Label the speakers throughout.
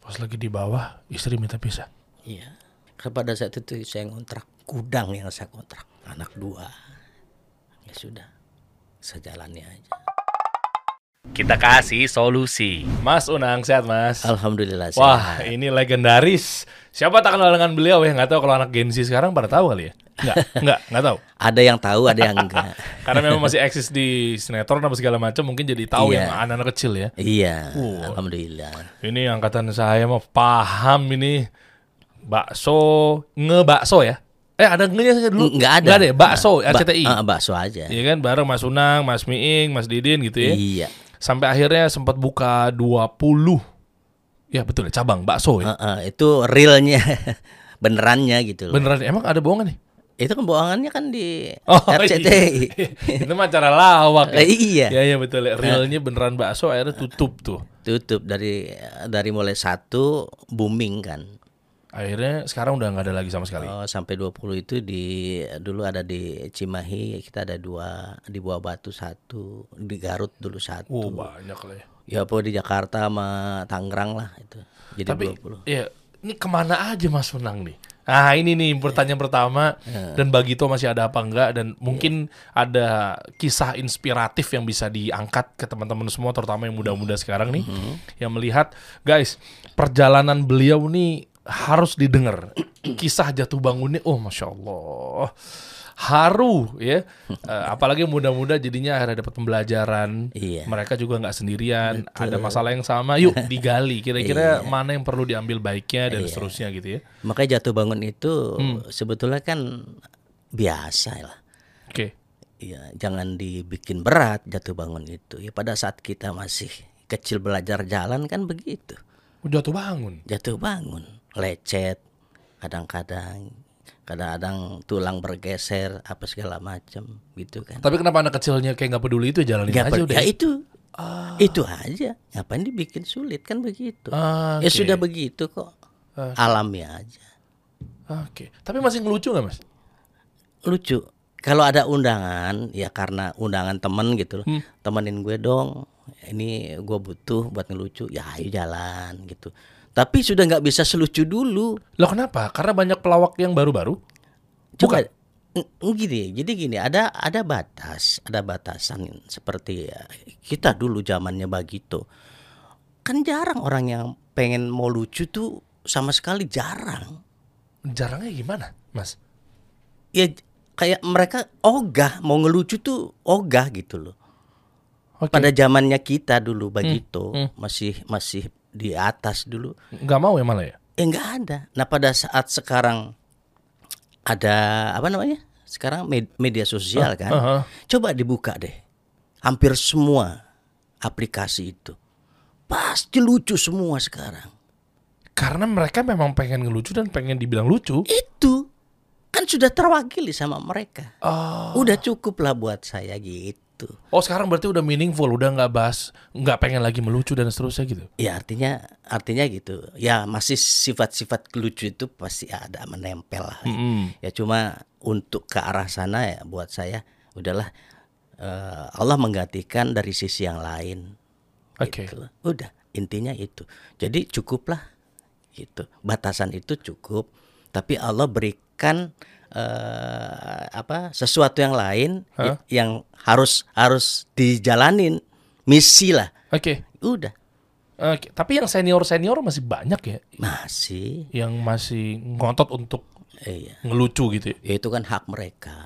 Speaker 1: pas lagi di bawah istri minta pisah.
Speaker 2: Iya. Karena pada saat itu saya ngontrak gudang yang saya kontrak anak dua. Ya sudah, sejalannya aja.
Speaker 3: Kita kasih solusi.
Speaker 1: Mas Unang sehat Mas.
Speaker 2: Alhamdulillah.
Speaker 1: Wah
Speaker 2: sehat.
Speaker 1: ini legendaris. Siapa tak kenal dengan beliau ya? Nggak tahu kalau anak Gen Z sekarang pada tahu kali ya? Nggak, nggak, nggak tahu.
Speaker 2: ada yang tahu, ada yang enggak.
Speaker 1: Karena memang masih eksis di sinetron apa segala macam mungkin jadi tahu
Speaker 2: Iya.
Speaker 1: yang anak-anak kecil ya.
Speaker 2: iya,
Speaker 1: Wah.
Speaker 2: alhamdulillah.
Speaker 1: Ini angkatan saya mah paham ini bakso ngebakso ya. Eh ada ngenya dulu?
Speaker 2: Enggak ada.
Speaker 1: Nggak ada ya? Bakso,
Speaker 2: Ba-
Speaker 1: RCTI.
Speaker 2: ah, bakso aja.
Speaker 1: Iya kan bareng Mas Unang, Mas Miing, Mas Didin gitu ya.
Speaker 2: Iya.
Speaker 1: Sampai akhirnya sempat buka 20 Ya betul ya, cabang bakso ya.
Speaker 2: Ah, ah, itu realnya benerannya gitu loh.
Speaker 1: Beneran emang ada bohongan nih?
Speaker 2: Itu kebohongannya kan di
Speaker 1: iya.
Speaker 2: RCTI.
Speaker 1: Itu mah cara lawak ya.
Speaker 2: Eh, iya.
Speaker 1: Ya ya betul ya. Realnya beneran bakso akhirnya tutup tuh.
Speaker 2: Tutup dari dari mulai satu booming kan.
Speaker 1: Akhirnya sekarang udah nggak ada lagi sama sekali.
Speaker 2: Oh, sampai 20 itu di dulu ada di Cimahi kita ada dua di Buah Batu satu di Garut dulu satu
Speaker 1: Wow, banyak lah ya.
Speaker 2: ya apa di Jakarta sama Tangerang lah itu jadi
Speaker 1: Tapi
Speaker 2: 20
Speaker 1: ya ini kemana aja Mas Unang nih? Ah ini nih pertanyaan pertama dan Bagito masih ada apa enggak dan mungkin ada kisah inspiratif yang bisa diangkat ke teman-teman semua terutama yang muda-muda sekarang nih yang melihat guys perjalanan beliau nih harus didengar kisah jatuh bangunnya oh masya Allah haru ya Eh, apalagi muda-muda jadinya akhirnya dapat pembelajaran
Speaker 2: Iya.
Speaker 1: mereka juga nggak sendirian ada masalah yang sama yuk digali
Speaker 2: Iya.
Speaker 1: kira-kira mana yang perlu diambil baiknya dan seterusnya gitu ya
Speaker 2: makanya jatuh bangun itu sebetulnya kan biasa lah
Speaker 1: oke
Speaker 2: ya jangan dibikin berat jatuh bangun itu ya pada saat kita masih kecil belajar jalan kan begitu
Speaker 1: jatuh bangun
Speaker 2: jatuh bangun lecet kadang-kadang kadang-kadang tulang bergeser apa segala macam gitu kan
Speaker 1: tapi kenapa anak kecilnya kayak nggak peduli itu Ah. jalanin
Speaker 2: Nggak
Speaker 1: aja
Speaker 2: per-
Speaker 1: udah
Speaker 2: ya itu itu aja ngapain dibikin sulit kan begitu
Speaker 1: Ah,
Speaker 2: ya
Speaker 1: oke. Ah.
Speaker 2: sudah begitu kok alami aja
Speaker 1: oke tapi masih ngelucu nggak mas
Speaker 2: lucu kalau ada undangan ya karena undangan temen gitu loh
Speaker 1: Hmm.
Speaker 2: temenin gue dong ini gue butuh buat ngelucu ya ayo jalan gitu tapi sudah nggak bisa selucu dulu
Speaker 1: lo kenapa karena banyak pelawak yang baru-baru
Speaker 2: Coba n- gini, jadi gini, ada ada batas, ada batasan seperti ya, kita dulu zamannya begitu. Kan jarang orang yang pengen mau lucu tuh sama sekali jarang.
Speaker 1: jarangnya gimana mas
Speaker 2: Ya j- kayak mereka ogah mau ngelucu tuh ogah gitu loh.
Speaker 1: Oke.
Speaker 2: Pada zamannya kita dulu begitu masih masih di atas dulu.
Speaker 1: nggak mau ya malah ya
Speaker 2: Ya nggak ada. Nah pada saat sekarang ada apa namanya? Sekarang med- media sosial kan.
Speaker 1: aha.
Speaker 2: Coba dibuka deh. Hampir semua aplikasi itu pasti lucu semua sekarang.
Speaker 1: karena mereka memang pengen ngelucu dan pengen dibilang lucu
Speaker 2: Itu kan sudah terwakili sama mereka. Udah cukup lah buat saya gitu.
Speaker 1: oh sekarang berarti udah meaningful udah nggak bahas nggak pengen lagi melucu dan seterusnya gitu
Speaker 2: Ya artinya artinya gitu. Ya masih sifat-sifat lucu itu pasti ada menempel lah. Ya cuma untuk ke arah sana ya buat saya udahlah eh, Allah menggantikan dari sisi yang lain.
Speaker 1: Oke.
Speaker 2: Gitu. Udah intinya itu. Jadi cukuplah gitu. Batasan itu cukup. Tapi Allah berikan eh, apa sesuatu yang lain y- yang harus harus dijalanin misi lah.
Speaker 1: oke
Speaker 2: Udah.
Speaker 1: Oke, tapi yang senior-senior masih banyak ya
Speaker 2: Masih,
Speaker 1: yang masih ngotot untuk
Speaker 2: iya.
Speaker 1: ngelucu gitu ya.
Speaker 2: Ya itu kan hak mereka.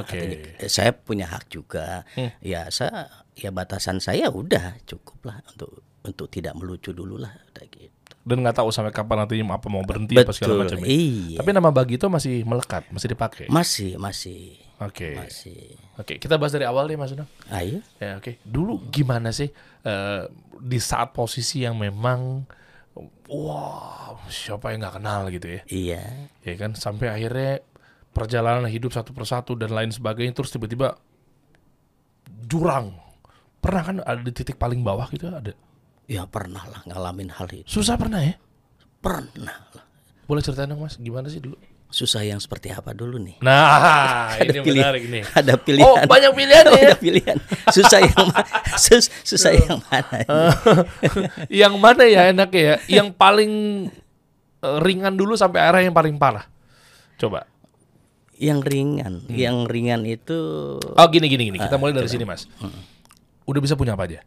Speaker 1: Oke. Hmm.
Speaker 2: Artinya, eh, saya punya hak juga. Ya saya, ya batasan saya udah cukup lah untuk untuk tidak melucu dulu lah. Udah gitu.
Speaker 1: Dan nggak tahu sampai kapan nantinya apa mau berhenti apa segala macam.
Speaker 2: Betul.
Speaker 1: ya.
Speaker 2: Iya. Hmm.
Speaker 1: Tapi nama Bagito masih melekat, masih dipakai. Oke.
Speaker 2: Masih, masih, masih.
Speaker 1: Oke, kita bahas dari awal deh Mas Unang.
Speaker 2: Ayo.
Speaker 1: Ya, oke. Dulu gimana sih eh, di saat posisi yang memang wow, siapa yang nggak kenal gitu ya.
Speaker 2: Iya.
Speaker 1: Ya kan sampai akhirnya perjalanan hidup satu persatu dan lain sebagainya terus tiba-tiba jurang. Pernah kan ada di titik paling bawah gitu ada.
Speaker 2: Ya pernah lah ngalamin hal itu.
Speaker 1: Susah pernah ya?
Speaker 2: Pernah lah.
Speaker 1: Boleh ceritain dong Mas, gimana sih dulu?
Speaker 2: susah yang seperti apa dulu nih?
Speaker 1: Nah,
Speaker 2: Ada
Speaker 1: ini
Speaker 2: pilihan.
Speaker 1: menarik nih.
Speaker 2: Ada pilihan.
Speaker 1: Oh, banyak pilihan ya.
Speaker 2: Ada pilihan. Susah yang ma- sus- susah yang mana?
Speaker 1: Ah. yang mana ya enaknya ya? Yang paling eh, ringan dulu sampai arah yang paling parah. Coba.
Speaker 2: Yang ringan.
Speaker 1: Hmm.
Speaker 2: Yang ringan itu
Speaker 1: Oh, gini gini gini. Kita mulai dari sini, Mas. Udah bisa punya apa aja?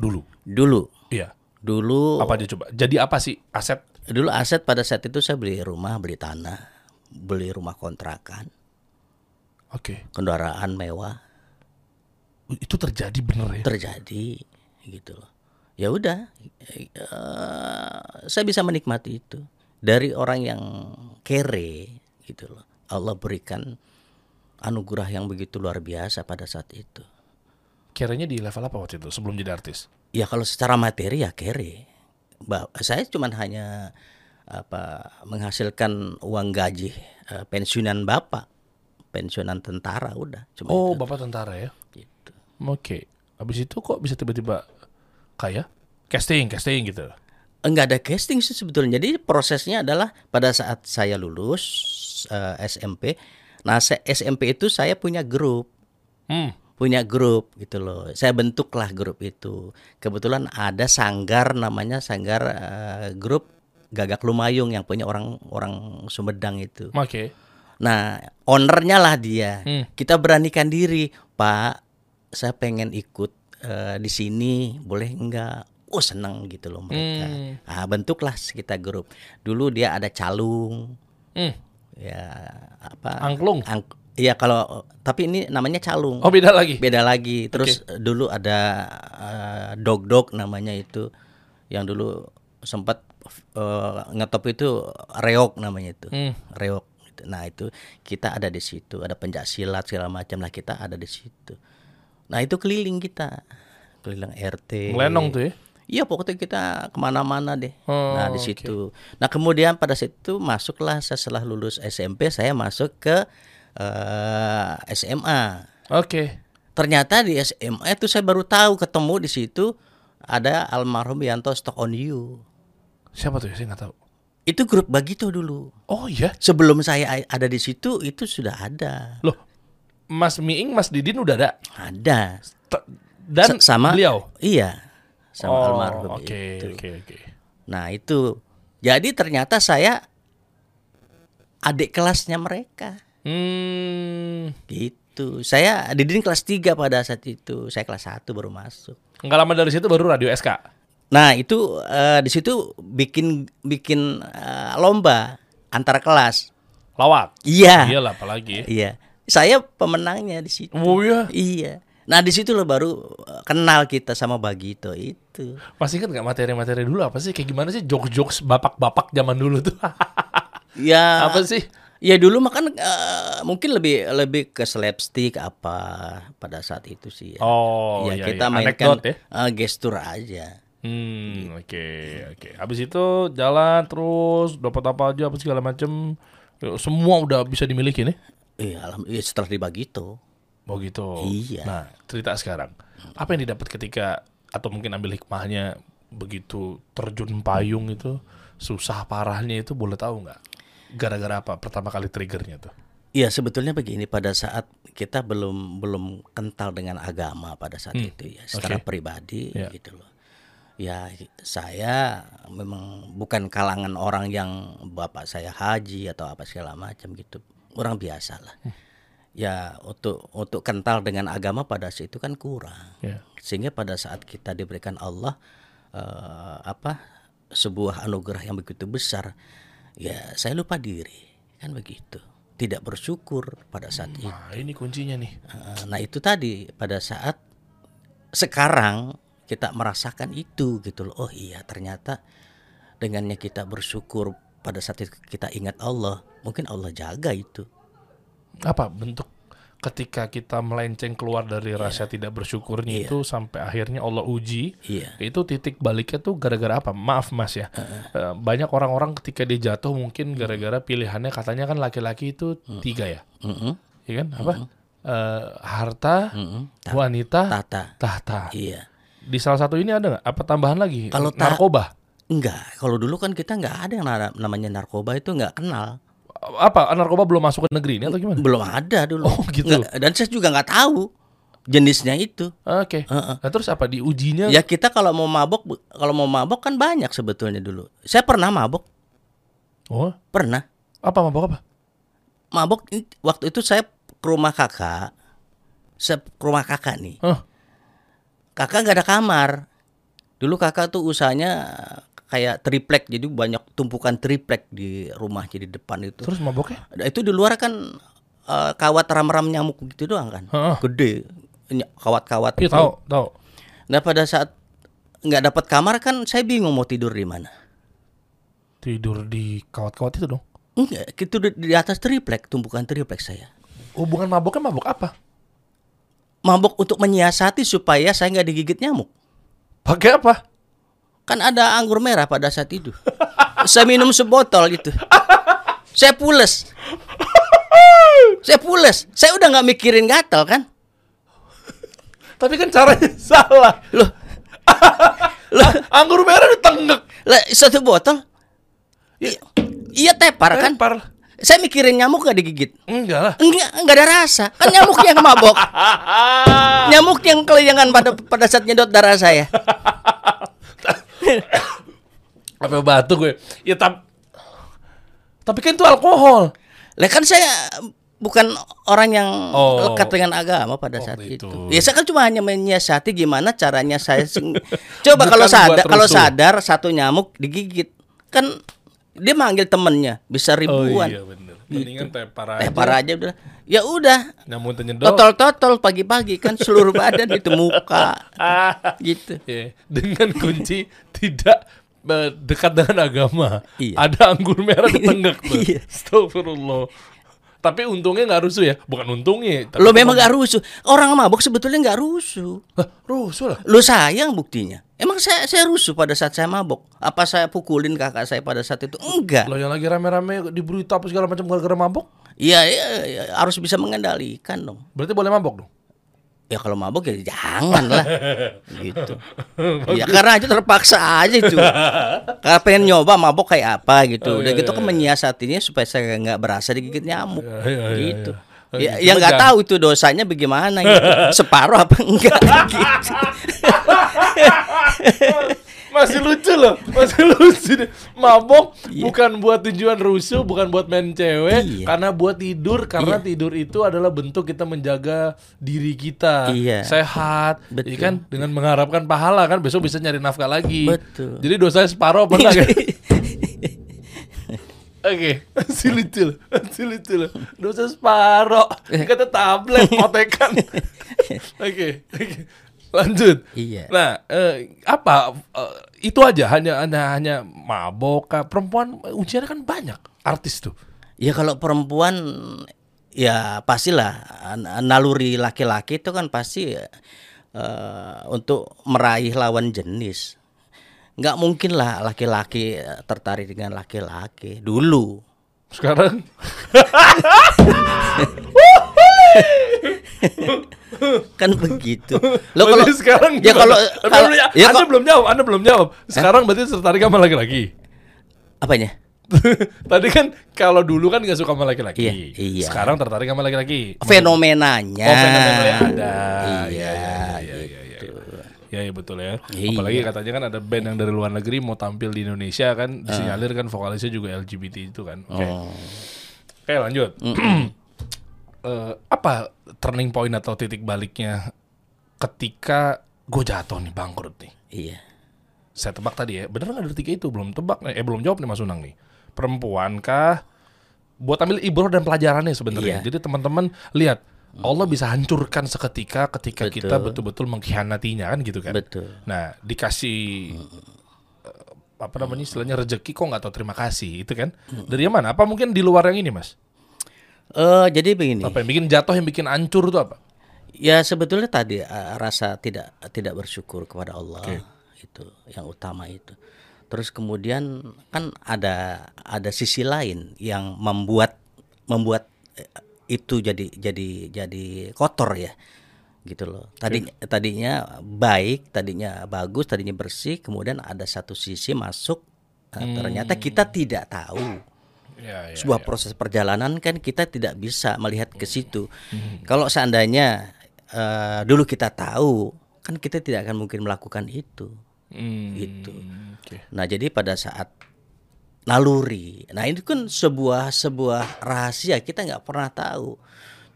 Speaker 1: Dulu.
Speaker 2: dulu.
Speaker 1: Iya.
Speaker 2: Dulu
Speaker 1: Apa aja coba? Jadi apa sih aset?
Speaker 2: dulu aset pada saat itu saya beli rumah, beli tanah, beli rumah kontrakan,
Speaker 1: Oke.
Speaker 2: kendaraan mewah
Speaker 1: Itu terjadi bener ya.
Speaker 2: terjadi gitu loh. Ya udah, eh, eh, saya bisa menikmati itu dari orang yang kere gitu loh. Allah berikan anugerah yang begitu luar biasa pada saat itu.
Speaker 1: Kiranya di level apa waktu itu sebelum jadi artis?
Speaker 2: Ya kalau secara materi ya kere. Ba- Saya cuman hanya apa menghasilkan uang gaji eh, pensiunan bapak, pensiunan tentara udah. Cuma
Speaker 1: Oh,
Speaker 2: itu.
Speaker 1: Bapak tentara ya.
Speaker 2: Gitu.
Speaker 1: Oke. Habis itu kok bisa tiba-tiba kaya? Casting, casting gitu.
Speaker 2: Enggak ada casting sih sebetulnya. Jadi prosesnya adalah pada saat saya lulus eh, SMP. Nah, se- SMP itu saya punya grup,
Speaker 1: Hmm.
Speaker 2: punya grup gitu loh. Saya bentuklah grup itu. Kebetulan ada sanggar namanya sanggar eh, grup Gagak Lumayung yang punya orang-orang Sumedang itu.
Speaker 1: Oke.
Speaker 2: Nah, ownernya lah dia.
Speaker 1: Hmm.
Speaker 2: Kita beranikan diri, Pak. Saya pengen ikut eh, di sini, boleh enggak? Oh seneng gitu loh mereka.
Speaker 1: Hmm.
Speaker 2: Ah bentuklah kita grup. Dulu dia ada calung,
Speaker 1: Hmm.
Speaker 2: ya apa?
Speaker 1: Angklung.
Speaker 2: Ang- Iya kalau tapi ini namanya calung.
Speaker 1: Oh, beda lagi.
Speaker 2: Beda lagi. Terus eh, dulu ada eh, dog-dog namanya itu yang dulu sempat eh, ngetop itu reok namanya itu.
Speaker 1: Hmm.
Speaker 2: Reok. gitu. Nah, itu kita ada di situ, ada penjak silat segala macam lah kita ada di situ. Nah, itu keliling kita. Keliling RT.
Speaker 1: Melenong tuh ya.
Speaker 2: Iya, pokoknya kita kemana-mana deh.
Speaker 1: Oh,
Speaker 2: nah, di
Speaker 1: oke.
Speaker 2: situ. Nah, kemudian pada situ masuklah saya setelah lulus SMP, saya masuk ke eh, SMA.
Speaker 1: Oke.
Speaker 2: Ternyata di SMA itu saya baru tahu ketemu di situ ada almarhum Yanto Stock on You.
Speaker 1: Siapa tuh ya? Saya nggak tahu.
Speaker 2: Itu grup Bagito dulu.
Speaker 1: Oh iya.
Speaker 2: Sebelum saya a- ada di situ itu sudah ada.
Speaker 1: Loh, Mas Miing, Mas Didin udah ada.
Speaker 2: Ada.
Speaker 1: T- Dan
Speaker 2: S- sama
Speaker 1: beliau.
Speaker 2: Iya. Sama
Speaker 1: oh,
Speaker 2: almarhum gitu.
Speaker 1: Oke,
Speaker 2: itu.
Speaker 1: oke, oke.
Speaker 2: Nah, itu. Jadi ternyata saya adik kelasnya mereka.
Speaker 1: Hmm,
Speaker 2: Gitu. Saya Didin kelas 3 pada saat itu. Saya kelas 1 baru masuk.
Speaker 1: nggak lama dari situ baru radio SK.
Speaker 2: Nah, itu eh, di situ bikin bikin eh, lomba antara kelas.
Speaker 1: Lawak.
Speaker 2: Iya.
Speaker 1: Iyalah apalagi.
Speaker 2: Iya. Saya pemenangnya di situ.
Speaker 1: Oh iya.
Speaker 2: Iya. Nah, di situ loh baru eh, kenal kita sama Bagito itu.
Speaker 1: Masih ingat nggak materi-materi dulu apa sih? Kayak gimana sih jokes-jokes bapak-bapak zaman dulu tuh?
Speaker 2: Ya.
Speaker 1: apa sih?
Speaker 2: Ya dulu makan eh, mungkin lebih lebih ke slapstick apa pada saat itu sih. Ya,
Speaker 1: Oh,
Speaker 2: ya,
Speaker 1: iya, iya.
Speaker 2: kita mainkan
Speaker 1: Anekdot ya.
Speaker 2: eh, gestur aja.
Speaker 1: Hmm, oke, oke. Habis itu jalan terus dapat apa aja apa segala macem semua udah bisa dimiliki nih.
Speaker 2: Iya, alham- iya, setelah di Bagito.
Speaker 1: Oh gitu.
Speaker 2: Iya.
Speaker 1: Nah, cerita sekarang. Apa yang didapat ketika atau mungkin ambil hikmahnya begitu terjun payung itu susah parahnya itu boleh tahu nggak? Gara-gara apa? Pertama kali triggernya tuh.
Speaker 2: Iya sebetulnya begini pada saat kita belum belum kental dengan agama pada saat itu ya secara pribadi
Speaker 1: Ya.
Speaker 2: gitu loh. Ya saya memang bukan kalangan orang yang bapak saya haji atau apa segala macam gitu orang biasa lah. Ya untuk untuk kental dengan agama pada saat itu kan kurang
Speaker 1: Ya.
Speaker 2: sehingga pada saat kita diberikan Allah eh, apa sebuah anugerah yang begitu besar ya saya lupa diri kan begitu tidak bersyukur pada saat itu
Speaker 1: Nah, ini kuncinya nih.
Speaker 2: Eh, nah itu tadi pada saat sekarang kita merasakan itu gitu loh oh iya ternyata dengannya kita bersyukur pada saat itu kita ingat Allah mungkin Allah jaga itu
Speaker 1: Apa bentuk ketika kita melenceng keluar dari rasa tidak bersyukurnya itu sampai akhirnya Allah uji
Speaker 2: iya
Speaker 1: itu titik baliknya tuh gara-gara apa? Maaf mas ya, Eh, banyak orang-orang ketika dia jatuh mungkin gara-gara pilihannya katanya kan laki-laki itu tiga ya,
Speaker 2: Mm-mm,
Speaker 1: ya kan? Apa? Eh, harta,
Speaker 2: mm-mm. Ta-
Speaker 1: wanita,
Speaker 2: tata
Speaker 1: tahta.
Speaker 2: iya
Speaker 1: Di salah satu ini ada nggak? Apa tambahan lagi?
Speaker 2: Kalau ta-
Speaker 1: narkoba.
Speaker 2: Enggak, kalau dulu kan kita nggak ada yang nara- namanya narkoba itu nggak kenal.
Speaker 1: apa narkoba belum masuk ke negeri ini atau gimana?
Speaker 2: belum ada dulu.
Speaker 1: Oh, gitu.
Speaker 2: Nggak- dan saya juga nggak tahu jenisnya itu.
Speaker 1: Oke.
Speaker 2: Heeh.
Speaker 1: Nah, terus apa diujinya?
Speaker 2: Ya kita kalau mau mabok kalau mau mabok kan banyak sebetulnya dulu. Saya pernah mabok,
Speaker 1: Oh,
Speaker 2: pernah.
Speaker 1: apa mabok apa?
Speaker 2: Mabok i- waktu itu saya ke rumah kakak. Saya ke rumah kakak nih.
Speaker 1: Hah.
Speaker 2: Kakak nggak ada kamar. Dulu kakak tuh usahanya kayak triplek jadi banyak tumpukan triplek di rumah jadi depan itu.
Speaker 1: Terus maboknya?
Speaker 2: Nah, itu di luar kan eh, kawat ram-ram nyamuk gitu doang kan.
Speaker 1: Heeh.
Speaker 2: Gede ny- kawat-kawat.
Speaker 1: Iya
Speaker 2: itu.
Speaker 1: tahu, tahu.
Speaker 2: Nah pada saat nggak dapat kamar kan saya bingung mau tidur di mana.
Speaker 1: Tidur di kawat-kawat itu dong.
Speaker 2: Enggak, itu di, di atas triplek, tumpukan triplek saya.
Speaker 1: Hubungan maboknya mabok apa?
Speaker 2: Mabok untuk menyiasati supaya saya nggak digigit nyamuk.
Speaker 1: Pakai apa?
Speaker 2: Kan ada anggur merah pada saat itu. saya minum sebotol gitu. Saya pules. Saya pules. Saya udah nggak mikirin gatal kan?
Speaker 1: Tapi kan caranya salah.
Speaker 2: Loh,
Speaker 1: Lah, anggur merah ditengek.
Speaker 2: lah, satu botol. I- iya tepar kan?
Speaker 1: Lempar.
Speaker 2: Saya mikirin nyamuk nggak digigit.
Speaker 1: Enggak lah.
Speaker 2: Enggak, enggak ada rasa. Kan nyamuk yang mabok. nyamuk yang kelayangan pada pada saat nyedot darah saya.
Speaker 1: Apa batu gue? Ya tap. Tapi kan itu alkohol.
Speaker 2: Lah kan saya bukan orang yang
Speaker 1: Oh. gitu.
Speaker 2: lekat dengan agama pada saat
Speaker 1: Waktu
Speaker 2: itu.
Speaker 1: itu.
Speaker 2: Ya saya kan cuma hanya menyiasati gimana caranya saya sing- coba kalau
Speaker 1: Bukan buat
Speaker 2: sadar kalau
Speaker 1: rusuh.
Speaker 2: sadar satu nyamuk digigit kan dia manggil temennya
Speaker 1: Oh,
Speaker 2: bisa ribuan.
Speaker 1: iya, bener. Mendingan tepar aja.
Speaker 2: Eh parah aja udah. Ya udah.
Speaker 1: Namun tenyedot.
Speaker 2: Totol-totol pagi-pagi kan seluruh badan itu muka
Speaker 1: Ah.
Speaker 2: gitu.
Speaker 1: Ya, dengan kunci tidak eh, dekat dengan agama.
Speaker 2: Iya.
Speaker 1: Ada anggur merah ditengek tuh.
Speaker 2: Iya.
Speaker 1: Astagfirullah. Tapi untungnya nggak rusuh ya, bukan untungnya. Tapi
Speaker 2: Lo memang gak rusuh. Orang mabuk sebetulnya gak rusuh.
Speaker 1: Lah, rusuh lah.
Speaker 2: Lo sayang buktinya. Emang saya saya rusuh pada saat saya mabok. Apa saya pukulin kakak saya pada saat itu? Enggak.
Speaker 1: Lo yang lagi rame-rame di berita apa segala macam gara-gara mabok,
Speaker 2: Iya, iya, iya, harus bisa mengendalikan dong.
Speaker 1: berarti boleh mabok dong.
Speaker 2: Ya kalau mabok ya jangan lah. gitu. Ya karena itu terpaksa aja itu. Karena pengen nyoba mabok kayak apa
Speaker 1: Oh,
Speaker 2: gitu.
Speaker 1: iya,
Speaker 2: Udah gitu kan menyiasatinya supaya saya nggak berasa digigit nyamuk.
Speaker 1: Ya, ya, ya,
Speaker 2: gitu.
Speaker 1: ya. Oh,
Speaker 2: Ya,
Speaker 1: gitu.
Speaker 2: ya nggak
Speaker 1: Jangan.
Speaker 2: tahu itu dosanya bagaimana gitu. Separuh apa enggak gitu.
Speaker 1: Masih lucu loh, masih lucu. deh. Mabok bukan buat tujuan rusuh, bukan buat main cewek,
Speaker 2: Iya.
Speaker 1: karena buat tidur, karena tidur itu adalah bentuk kita menjaga diri kita
Speaker 2: Iya.
Speaker 1: sehat,
Speaker 2: Betul.
Speaker 1: Iya kan dengan mengharapkan pahala kan besok bisa nyari nafkah lagi.
Speaker 2: Betul.
Speaker 1: Jadi dosanya separuh apa enggak? kan? Oke, masih lucu loh, masih lucu loh. Dosa separuh,
Speaker 2: Eh.
Speaker 1: kata tablet, otekan. Oke, oke. Lanjut.
Speaker 2: Iya.
Speaker 1: Nah, eh, apa eh, itu aja hanya hanya hanya mabok kah? perempuan ujiannya kan banyak artis tuh.
Speaker 2: Ya kalau perempuan ya pastilah an- naluri laki-laki itu kan pasti eh, untuk meraih lawan jenis. Nggak mungkin lah laki-laki eh, tertarik dengan laki-laki dulu.
Speaker 1: Sekarang
Speaker 2: Kan begitu. Lo kalau
Speaker 1: berarti sekarang
Speaker 2: ya
Speaker 1: gimana?
Speaker 2: kalau
Speaker 1: Tapi
Speaker 2: kalau-
Speaker 1: belum-
Speaker 2: ya Eh?
Speaker 1: Anda
Speaker 2: kalau-
Speaker 1: belum jawab, Anda belum jawab. Sekarang berarti tertarik sama laki-laki.
Speaker 2: apanya?
Speaker 1: Oh, Tadi kan kalau dulu kan nggak suka sama laki-laki.
Speaker 2: Iya, iya.
Speaker 1: Sekarang tertarik sama laki-laki.
Speaker 2: Fenomenanya.
Speaker 1: Oh, fenomena yang ada.
Speaker 2: Iya.
Speaker 1: iya, iya, iya,
Speaker 2: gitu.
Speaker 1: iya. Iya, iya, betul ya.
Speaker 2: Iya.
Speaker 1: Apalagi katanya kan ada band yang dari luar negeri mau tampil di Indonesia kan disinyalir kan vokalisnya juga LGBT itu kan. Oke. Oke, lanjut. Eh, apa turning point atau titik baliknya ketika gue jatuh nih bangkrut nih?
Speaker 2: Iya.
Speaker 1: Saya tebak tadi ya. Bener nggak dari tiga itu belum tebak eh belum jawab nih Mas Unang nih. Perempuan kah? Buat ambil ibroh dan pelajarannya sebenarnya.
Speaker 2: Iya.
Speaker 1: Jadi teman-teman lihat Allah bisa hancurkan seketika ketika kita
Speaker 2: Betul.
Speaker 1: betul-betul mengkhianatinya kan gitu kan.
Speaker 2: Betul.
Speaker 1: Nah, dikasih eh, apa namanya istilahnya rezeki kok nggak tahu terima kasih itu kan. Dari yang mana? Apa mungkin di luar yang ini, Mas?
Speaker 2: Eh jadi begini.
Speaker 1: Apa yang bikin jatuh, yang bikin hancur itu apa?
Speaker 2: Ya sebetulnya tadi eh, rasa tidak tidak bersyukur kepada Allah itu yang utama itu. Terus kemudian kan ada ada sisi lain yang membuat membuat eh, itu jadi jadi jadi kotor ya gitu loh. Tadi tadinya baik, tadinya bagus, tadinya bersih, kemudian ada satu sisi masuk eh, ternyata kita tidak tahu
Speaker 1: Ya, ya,
Speaker 2: sebuah proses perjalanan kan kita tidak bisa melihat ke situ. Kalau seandainya eh, dulu kita tahu, kan kita tidak akan mungkin melakukan itu.
Speaker 1: Hmm,
Speaker 2: Gitu.
Speaker 1: oke.
Speaker 2: Nah, jadi pada saat naluri, nah itu kan sebuah sebuah rahasia kita nggak pernah tahu.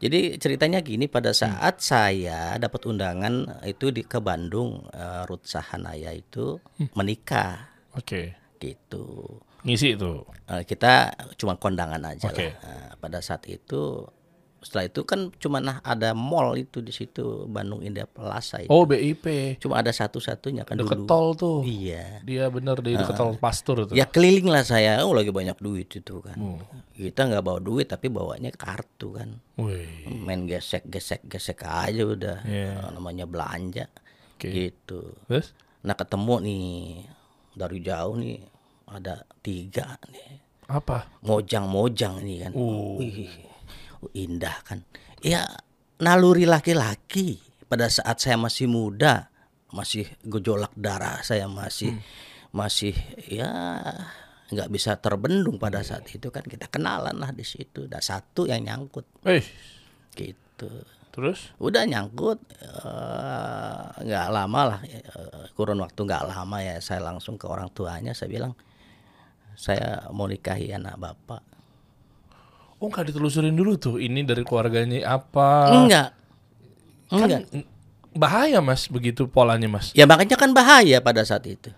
Speaker 2: Jadi ceritanya gini, pada saat saya dapat undangan itu di ke Bandung, eh, Ruth Sahanaya itu menikah
Speaker 1: Oke.
Speaker 2: gitu.
Speaker 1: Ngisi itu.
Speaker 2: Eh, kita cuma kondangan aja
Speaker 1: Oke.
Speaker 2: lah. Eh, pada saat itu setelah itu kan cuma nah ada mall itu di situ Bandung Indah Plaza itu.
Speaker 1: Oh, BIP.
Speaker 2: Cuma ada satu-satunya kan
Speaker 1: Deket
Speaker 2: Iya. dulu.
Speaker 1: tol tuh.
Speaker 2: Iya.
Speaker 1: Dia bener di deket tol Pastur tuh.
Speaker 2: Ya keliling lah saya, oh lagi banyak duit itu kan.
Speaker 1: Hmm.
Speaker 2: Kita nggak bawa duit tapi bawanya kartu kan.
Speaker 1: Wih.
Speaker 2: Main gesek gesek gesek aja udah.
Speaker 1: Iya.
Speaker 2: Eh, Namanya belanja.
Speaker 1: Oke.
Speaker 2: Gitu.
Speaker 1: Terus?
Speaker 2: Nah ketemu nih dari jauh nih ada tiga nih.
Speaker 1: Apa?
Speaker 2: mojang-mojang ini kan.
Speaker 1: Uh.
Speaker 2: Wih, indah kan. Ya naluri laki-laki pada saat saya masih muda, masih gejolak darah saya masih masih ya nggak bisa terbendung pada saat itu kan kita kenalan lah di situ. Ada satu yang nyangkut
Speaker 1: Eh,
Speaker 2: gitu.
Speaker 1: terus?
Speaker 2: Udah nyangkut eh, nggak lama lah eh, kurun waktu nggak lama ya saya langsung ke orang tuanya saya bilang saya mau nikahi anak bapak.
Speaker 1: Oh, nggak ditelusurin dulu tuh. Ini dari keluarganya apa?
Speaker 2: Enggak.
Speaker 1: Eh, Kan
Speaker 2: Enggak.
Speaker 1: n- bahaya, Mas, begitu polanya, Mas.
Speaker 2: Ya makanya kan bahaya pada saat itu.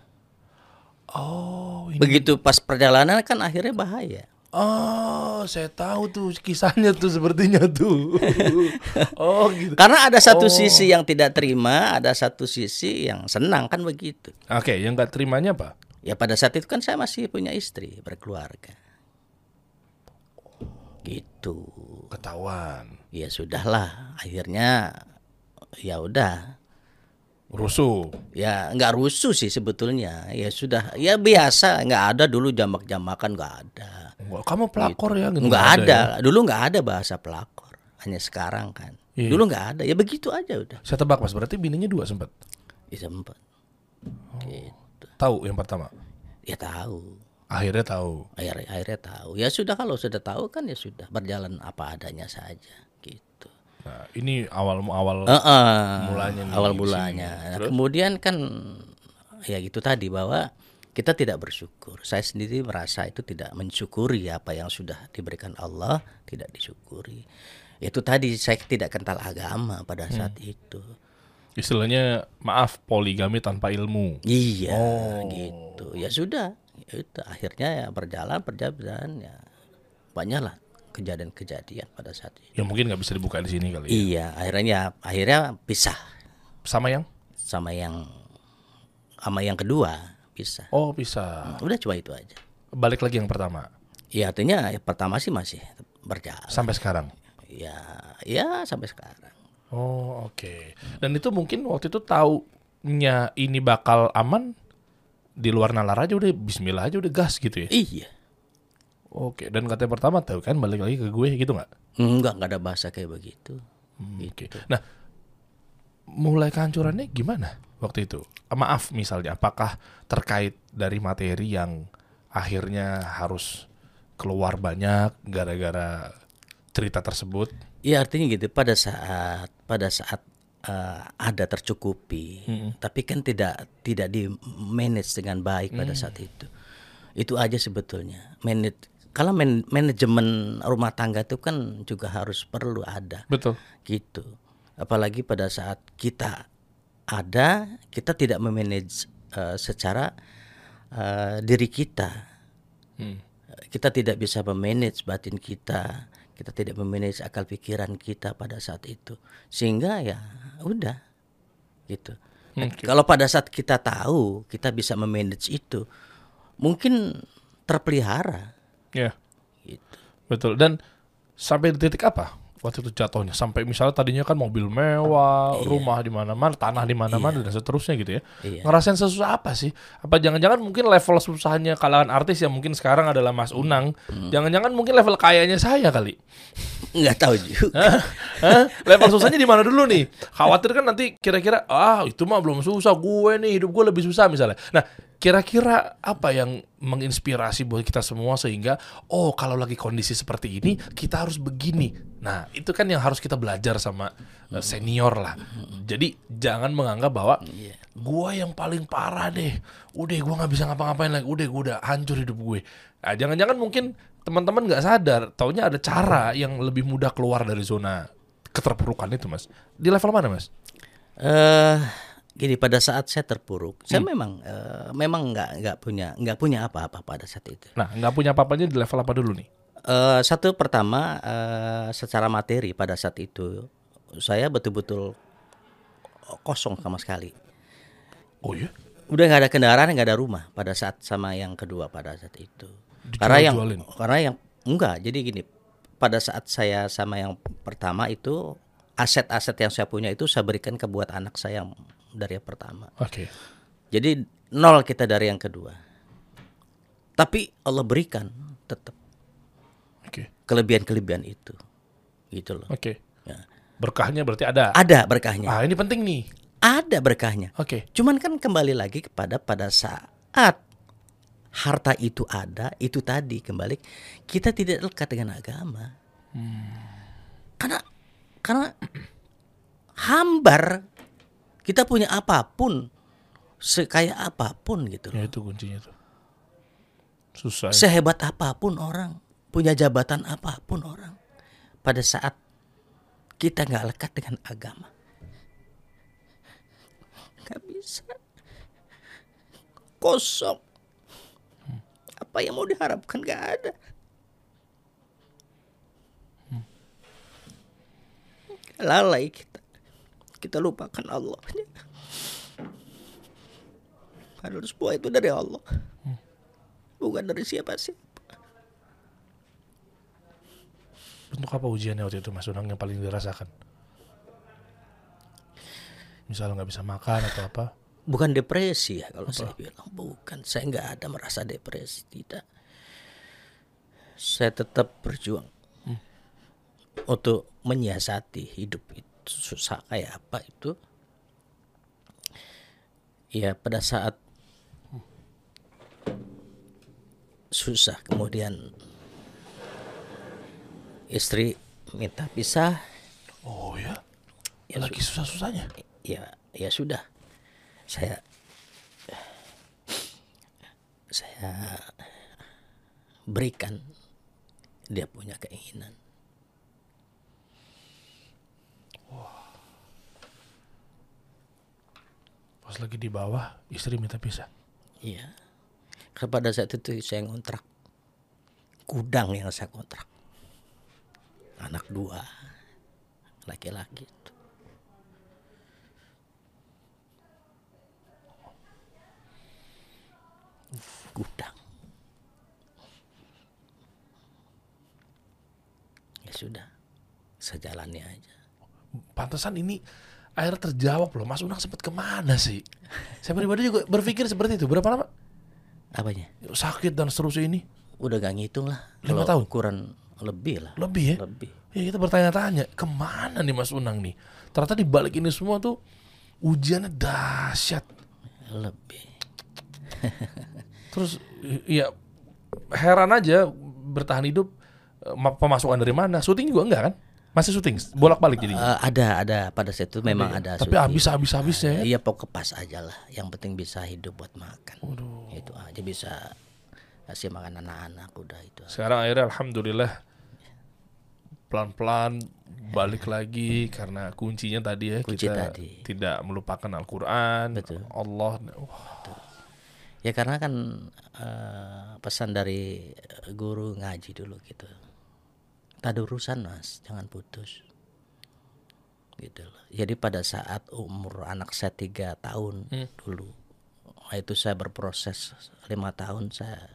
Speaker 1: Oh, ini.
Speaker 2: Begitu pas perjalanan kan akhirnya bahaya.
Speaker 1: Oh, saya tahu tuh kisahnya tuh sepertinya tuh. oh, gitu.
Speaker 2: Karena ada satu
Speaker 1: Oh.
Speaker 2: sisi yang tidak terima, ada satu sisi yang senang kan begitu.
Speaker 1: Oke, yang nggak terimanya apa?
Speaker 2: Ya pada saat itu kan saya masih punya istri, berkeluarga. Gitu.
Speaker 1: Ketahuan,
Speaker 2: Ya sudahlah, akhirnya ya udah.
Speaker 1: rusuh.
Speaker 2: Ya nggak rusuh sih sebetulnya. Ya sudah, ya biasa, nggak ada dulu jamak-jamakan nggak ada.
Speaker 1: Wah, Kamu pelakor ya? gitu.
Speaker 2: nggak ada,
Speaker 1: ya.
Speaker 2: dulu nggak ada bahasa pelakor hanya sekarang kan
Speaker 1: Iya.
Speaker 2: dulu nggak ada ya begitu aja udah
Speaker 1: Saya tebak, Mas. Berarti bininya dua sempat.
Speaker 2: bisa empat gitu
Speaker 1: Tahu yang pertama.
Speaker 2: ya tahu
Speaker 1: Akhirnya tahu.
Speaker 2: akhirnya akhirnya tahu ya sudah kalau sudah tahu kan ya sudah berjalan apa adanya saja gitu
Speaker 1: Nah, ini awal awal
Speaker 2: Heeh,
Speaker 1: mulanya nih,
Speaker 2: awal
Speaker 1: di sini.
Speaker 2: mulanya Nah,
Speaker 1: Terus?
Speaker 2: kemudian kan ya gitu tadi bahwa kita tidak bersyukur saya sendiri merasa itu tidak mensyukuri apa yang sudah diberikan Allah tidak disyukuri itu tadi saya tidak kental agama pada
Speaker 1: Hmm.
Speaker 2: saat itu
Speaker 1: istilahnya maaf poligami tanpa ilmu.
Speaker 2: Iya,
Speaker 1: Oh.
Speaker 2: gitu. Ya sudah, itu akhirnya ya berjalan perjalanan ya banyaklah kejadian-kejadian pada saat itu.
Speaker 1: Ya mungkin nggak bisa dibuka di sini kali. ya.
Speaker 2: Iya, akhirnya ya akhirnya pisah
Speaker 1: Sama yang?
Speaker 2: sama yang sama yang kedua pisah.
Speaker 1: Oh bisa.
Speaker 2: Udah cuma itu aja.
Speaker 1: Balik lagi yang pertama.
Speaker 2: Ya artinya ya, pertama sih masih berjalan.
Speaker 1: Sampai sekarang.
Speaker 2: Ya, ya sampai sekarang.
Speaker 1: Oh oke. Dan itu mungkin waktu itu taunya ini bakal aman di luar nalar aja udah Bismillah aja udah gas gitu ya.
Speaker 2: Iya.
Speaker 1: Oke. Dan katanya pertama tahu kan balik lagi ke gue gitu nggak?
Speaker 2: Enggak, enggak ada bahasa kayak begitu.
Speaker 1: Oke. Nah, mulai kehancurannya gimana waktu itu? Ah, Maaf misalnya, apakah terkait dari materi yang akhirnya harus keluar banyak gara-gara cerita tersebut?
Speaker 2: Iya artinya gitu pada saat pada saat eh, ada tercukupi, tapi kan tidak tidak di manage dengan baik pada saat itu. Itu aja sebetulnya. Manage kalau man- manajemen rumah tangga itu kan juga harus perlu ada
Speaker 1: Betul.
Speaker 2: gitu. Apalagi pada saat kita ada, kita tidak memanage eh, secara eh, diri kita. Kita tidak bisa memanage batin kita, kita tidak memanage akal pikiran kita pada saat itu. Sehingga ya udah gitu. Kalau pada saat kita tahu, kita bisa memanage itu, mungkin terpelihara
Speaker 1: Ya,
Speaker 2: gitu.
Speaker 1: betul. Dan sampai di titik apa waktu itu jatuhnya? Sampai misalnya tadinya kan mobil mewah, rumah di mana-mana, tanah di mana-mana dan seterusnya gitu ya.
Speaker 2: Iya.
Speaker 1: Ngerasain sesusah apa sih? Apa jangan-jangan mungkin level susahnya kalangan artis yang mungkin sekarang adalah Mas Unang,
Speaker 2: Hmm.
Speaker 1: jangan-jangan mungkin level kayanya saya kali.
Speaker 2: Nggak tahu juga.
Speaker 1: Hah? Level susahnya di mana dulu nih? Khawatir kan nanti kira-kira ah itu mah belum susah gue nih hidup gue lebih susah misalnya. Nah Kira-kira apa yang menginspirasi buat kita semua sehingga oh kalau lagi kondisi seperti ini kita harus begini. Nah, itu kan yang harus kita belajar sama eh, senior lah. Jadi jangan menganggap bahwa gua yang paling parah deh. Udah gua nggak bisa ngapa-ngapain lagi. Udah gua udah hancur hidup gue. Nah, jangan-jangan mungkin teman-teman nggak sadar taunya ada cara yang lebih mudah keluar dari zona keterpurukan itu, Mas. Di level mana, Mas?
Speaker 2: Eh gini pada saat saya terpuruk, saya memang eh, memang nggak nggak punya nggak punya apa-apa pada saat itu.
Speaker 1: Nah, nggak punya apa-apanya di level apa dulu nih?
Speaker 2: Eh, satu pertama eh, secara materi pada saat itu saya betul-betul kosong sama sekali.
Speaker 1: Oh iya?
Speaker 2: Udah nggak ada kendaraan, nggak ada rumah pada saat sama yang kedua pada saat itu.
Speaker 1: Dijual-jualin?
Speaker 2: Karena yang karena yang enggak. Jadi gini, pada saat saya sama yang pertama itu aset-aset yang saya punya itu saya berikan ke buat anak saya yang dari yang pertama.
Speaker 1: Oke.
Speaker 2: Jadi nol kita dari yang kedua. Tapi Allah berikan tetap
Speaker 1: Oke.
Speaker 2: kelebihan-kelebihan itu. Gitu loh.
Speaker 1: Oke.
Speaker 2: Ya.
Speaker 1: Berkahnya berarti ada.
Speaker 2: Ada berkahnya.
Speaker 1: Ah, ini penting nih.
Speaker 2: Ada berkahnya.
Speaker 1: Oke.
Speaker 2: Cuman kan kembali lagi kepada pada saat harta itu ada, itu tadi kembali kita tidak lekat dengan agama. Karena karena hambar kita punya apapun sekaya apapun gitu loh.
Speaker 1: Ya itu kuncinya tuh. Susah. ya.
Speaker 2: Sehebat apapun orang, punya jabatan apapun orang, pada saat kita nggak lekat dengan agama, nggak bisa kosong. Apa yang mau diharapkan nggak ada. Lalai kita, kita lupakan Allahnya. Padahal semua itu dari Allah bukan dari siapa sih
Speaker 1: Untuk apa ujiannya waktu itu Mas Unang yang paling dirasakan? Misalnya nggak bisa makan atau apa?
Speaker 2: bukan depresi ya kalau saya bilang bukan saya nggak ada merasa depresi tidak saya tetap berjuang untuk menyiasati hidup itu susah kayak apa itu ya pada saat susah kemudian istri minta pisah
Speaker 1: Oh ya.
Speaker 2: Ya,
Speaker 1: Lagi susah-susahnya.
Speaker 2: ya ya sudah saya saya berikan dia punya keinginan
Speaker 1: Pas lagi di bawah, istri minta pisah.
Speaker 2: iya kepada saat itu saya ngontrak gudang yang saya kontrak anak dua laki-laki itu gudang ya sudah sejalannya aja
Speaker 1: Pantesan ini akhirnya terjawab loh. Mas Unang sempat kemana sih? Saya pribadi juga berpikir seperti itu. Berapa lama?
Speaker 2: apanya
Speaker 1: Sakit dan seterusnya ini.
Speaker 2: udah gak ngitung lah
Speaker 1: Lima
Speaker 2: Kalau
Speaker 1: tahun?
Speaker 2: ukuran lebih lah
Speaker 1: Lebih ya?
Speaker 2: lebih
Speaker 1: Ya kita bertanya-tanya, kemana nih Mas Unang nih? Ternyata di balik ini semua tuh ujiannya dahsyat.
Speaker 2: lebih
Speaker 1: Terus i- ya heran aja bertahan hidup eh, ma- pemasukan dari mana? Syuting juga enggak kan? Masih syuting, bolak-balik jadi.
Speaker 2: Eh, ada ada pada saat itu memang
Speaker 1: ya?
Speaker 2: ada
Speaker 1: Tapi
Speaker 2: syuting.
Speaker 1: habis-habis-habisnya ya.
Speaker 2: Iya pokok pas aja lah. Yang penting bisa hidup buat makan.
Speaker 1: Waduh.
Speaker 2: Itu aja bisa kasih makan anak-anak udah itu. aja.
Speaker 1: Sekarang akhirnya alhamdulillah pelan-pelan balik lagi karena kuncinya tadi ya
Speaker 2: Ya. Kunci
Speaker 1: kita
Speaker 2: tadi.
Speaker 1: tidak melupakan Al-Qur'an,
Speaker 2: Betul.
Speaker 1: Allah. Wah,
Speaker 2: Ya karena kan eh, pesan dari eh, guru ngaji dulu gitu. Tadurusan mas, jangan putus. Gitu loh. Jadi pada saat umur anak saya tiga tahun dulu, itu saya berproses lima tahun saya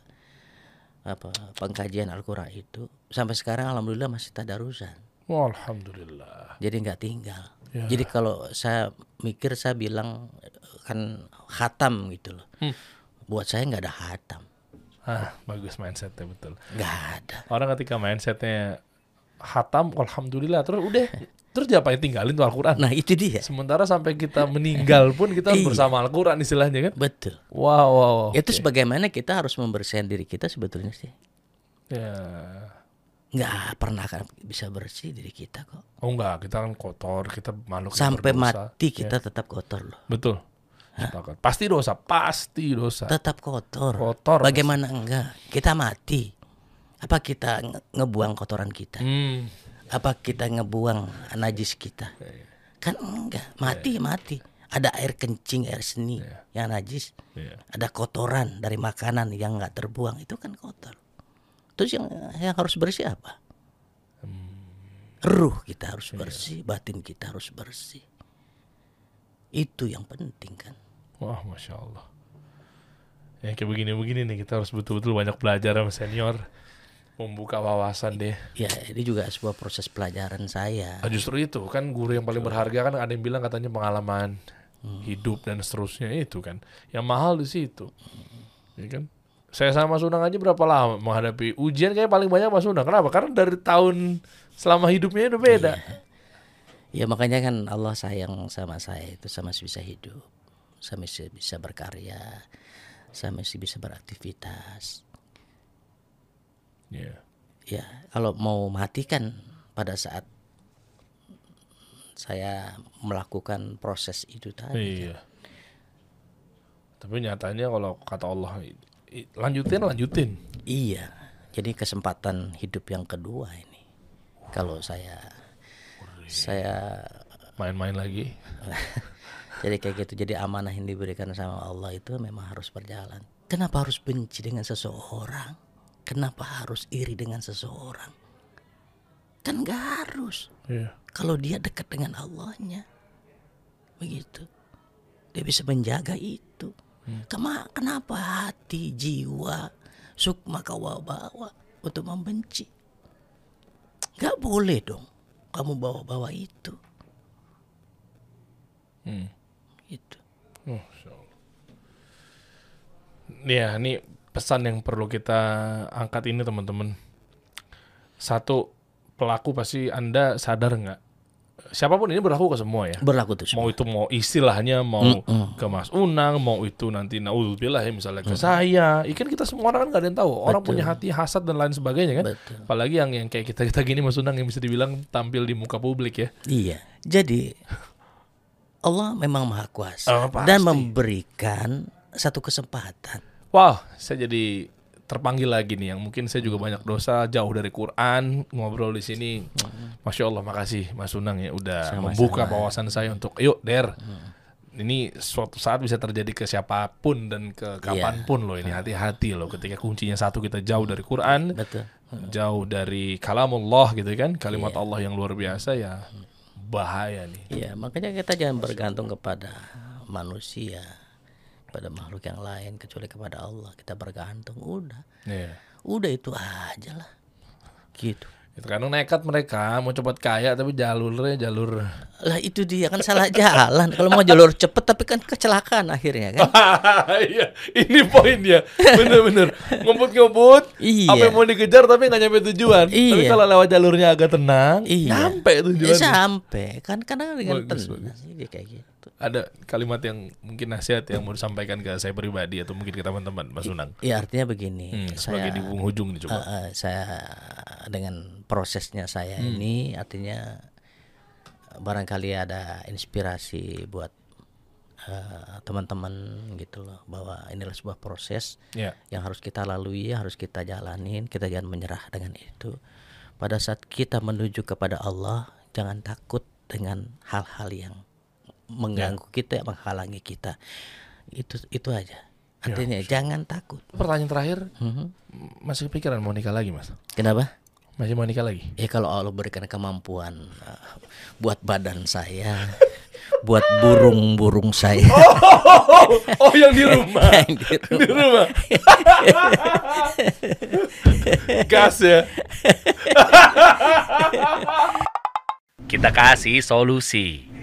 Speaker 2: apa pengkajian Al-Quran itu sampai sekarang alhamdulillah masih tadarusan.
Speaker 1: wah, alhamdulillah.
Speaker 2: jadi nggak tinggal.
Speaker 1: Ya.
Speaker 2: Jadi kalau saya mikir saya bilang eh, kan hatam gitu loh.
Speaker 1: Hmm.
Speaker 2: Buat saya nggak ada hatam,
Speaker 1: Ah, bagus mindsetnya betul.
Speaker 2: nggak ada.
Speaker 1: Orang ketika mindsetnya hatam, alhamdulillah terus udah Terus diapain tinggalin tuh Al-Quran?
Speaker 2: Nah itu dia.
Speaker 1: Sementara sampai kita meninggal pun kita harus
Speaker 2: Iya.
Speaker 1: bersama Al-Quran istilahnya kan?
Speaker 2: Betul.
Speaker 1: Wow, wow, wow.
Speaker 2: Itu sebagaimana kita harus membersihkan diri kita sebetulnya sih.
Speaker 1: Ya.
Speaker 2: Nggak pernah akan bisa bersih diri kita kok.
Speaker 1: Oh enggak, kita kan kotor, kita makhluk yang
Speaker 2: Sampai
Speaker 1: berdosa.
Speaker 2: mati
Speaker 1: Ya,
Speaker 2: kita tetap kotor loh.
Speaker 1: Betul. Sepakat. Pasti dosa, pasti dosa.
Speaker 2: Tetap kotor.
Speaker 1: Kotor.
Speaker 2: Bagaimana enggak? Kita mati. Apa kita nge- ngebuang kotoran kita?
Speaker 1: Hmm.
Speaker 2: Apa kita ngebuang najis kita? Kan enggak. Mati mati. Ada air kencing, air seni yang najis.
Speaker 1: Iya.
Speaker 2: Ada kotoran dari makanan yang enggak terbuang itu kan kotor. Terus yang yang harus bersih apa? Hmm. Ruh kita harus bersih, batin kita harus bersih. Itu yang penting kan.
Speaker 1: Wah, masya Allah. Ya kayak begini-begini nih kita harus betul-betul banyak belajar sama senior, membuka wawasan deh.
Speaker 2: Ya, ini juga sebuah proses pelajaran saya.
Speaker 1: Ah, justru itu kan guru yang paling berharga kan ada yang bilang katanya pengalaman hidup dan seterusnya itu kan yang mahal di situ, ya kan? Saya sama Sunang aja berapa lama menghadapi ujian kayak paling banyak Mas Sunang. Kenapa? Karena dari tahun selama hidupnya udah beda.
Speaker 2: Ya makanya kan Allah sayang sama saya itu sama masih bisa hidup, sama masih bisa berkarya, sama masih bisa beraktivitas.
Speaker 1: Iya.
Speaker 2: Ya, kalau mau mati kan pada saat saya melakukan proses itu tadi.
Speaker 1: Iya. Tapi nyatanya kalau kata Allah i- i- lanjutin lanjutin.
Speaker 2: Iya. Jadi kesempatan hidup yang kedua ini. Kalau saya saya
Speaker 1: Main-main lagi.
Speaker 2: Jadi kayak gitu. Jadi amanah yang diberikan sama Allah itu memang harus berjalan. Kenapa harus benci dengan seseorang? Kenapa harus iri dengan seseorang? Kan nggak harus.
Speaker 1: Iya.
Speaker 2: Kalau dia dekat dengan Allahnya, begitu, dia bisa menjaga itu.
Speaker 1: Hmm.
Speaker 2: Kema- kenapa hati, jiwa, sukma kawabawa untuk membenci? Gak boleh dong. Kamu bawa-bawa itu,
Speaker 1: Hmm.
Speaker 2: gitu.
Speaker 1: Oh, Masya Allah. Ya, ini pesan yang perlu kita angkat ini teman-teman. Satu, pelaku pasti Anda sadar nggak? Siapapun ini berlaku ke semua ya.
Speaker 2: Berlaku tuh.
Speaker 1: Mau
Speaker 2: semua.
Speaker 1: itu mau istilahnya, mau ke Mas Unang, mau itu nanti naudzubillah ya misalnya ke saya. Ikan kita semua orang kan nggak ada yang tahu. Orang punya hati hasad dan lain sebagainya kan.
Speaker 2: Betul.
Speaker 1: Apalagi yang yang kayak kita kita gini Mas Unang yang bisa dibilang tampil di muka publik ya.
Speaker 2: Iya. Jadi Allah memang maha
Speaker 1: Oh,
Speaker 2: kuasa
Speaker 1: pasti.
Speaker 2: dan memberikan satu kesempatan.
Speaker 1: Wow, saya jadi terpanggil lagi nih yang mungkin saya juga banyak dosa jauh dari Quran ngobrol di sini. Masya Allah, makasih Mas Sunang ya udah
Speaker 2: Sama-sama.
Speaker 1: membuka wawasan saya untuk yuk der. Ini suatu saat bisa terjadi ke siapapun dan ke kapanpun loh ini hati-hati loh ketika kuncinya satu kita jauh dari Quran,
Speaker 2: Betul.
Speaker 1: jauh dari kalamullah gitu kan, kalimat Allah yang luar biasa ya bahaya nih.
Speaker 2: Iya, makanya kita jangan bergantung kepada manusia, pada makhluk yang lain kecuali kepada Allah. Kita bergantung udah.
Speaker 1: Iya.
Speaker 2: Udah itu aja lah. Gitu.
Speaker 1: Kadang nekat mereka mau cepat kaya tapi jalurnya jalur
Speaker 2: Lah itu dia kan salah jalan. Kalau mau jalur cepet tapi kan kecelakaan akhirnya kan.
Speaker 1: Iya, ini poinnya. Bener-bener ngebut-ngebut.
Speaker 2: Iya.
Speaker 1: Apa yang mau dikejar tapi nggak nyampe tujuan. Tapi
Speaker 2: Iya.
Speaker 1: kalau lewat jalurnya agak tenang,
Speaker 2: Iya.
Speaker 1: nyampe
Speaker 2: Ya,
Speaker 1: tujuan.
Speaker 2: sampai kan kadang dengan
Speaker 1: Bagus,
Speaker 2: tenang dia kayak gitu.
Speaker 1: Ada kalimat yang mungkin nasihat yang mau disampaikan ke saya pribadi atau mungkin ke teman-teman Mas Unang.
Speaker 2: Ya artinya begini.
Speaker 1: Hmm,
Speaker 2: saya
Speaker 1: sebagai di penghujung nih coba.
Speaker 2: Eh, eh, saya dengan prosesnya saya ini artinya eh, barangkali ada inspirasi buat eh, teman-teman gitu loh bahwa inilah sebuah proses
Speaker 1: Iya.
Speaker 2: yang harus kita lalui harus kita jalanin kita jangan menyerah dengan itu pada saat kita menuju kepada Allah jangan takut dengan hal-hal yang mengganggu kita menghalangi kita itu itu aja artinya jangan takut
Speaker 1: Pertanyaan terakhir,
Speaker 2: Mhm.
Speaker 1: masih kepikiran mau nikah lagi Mas?
Speaker 2: kenapa
Speaker 1: Masih mau nikah lagi?
Speaker 2: Ya kalau Allah berikan kemampuan uh, buat badan saya, buat burung-burung saya. gitu.
Speaker 1: Oh, oh yang di rumah.
Speaker 2: yang di rumah.
Speaker 1: di rumah. Gas ya.
Speaker 3: Kita kasih solusi.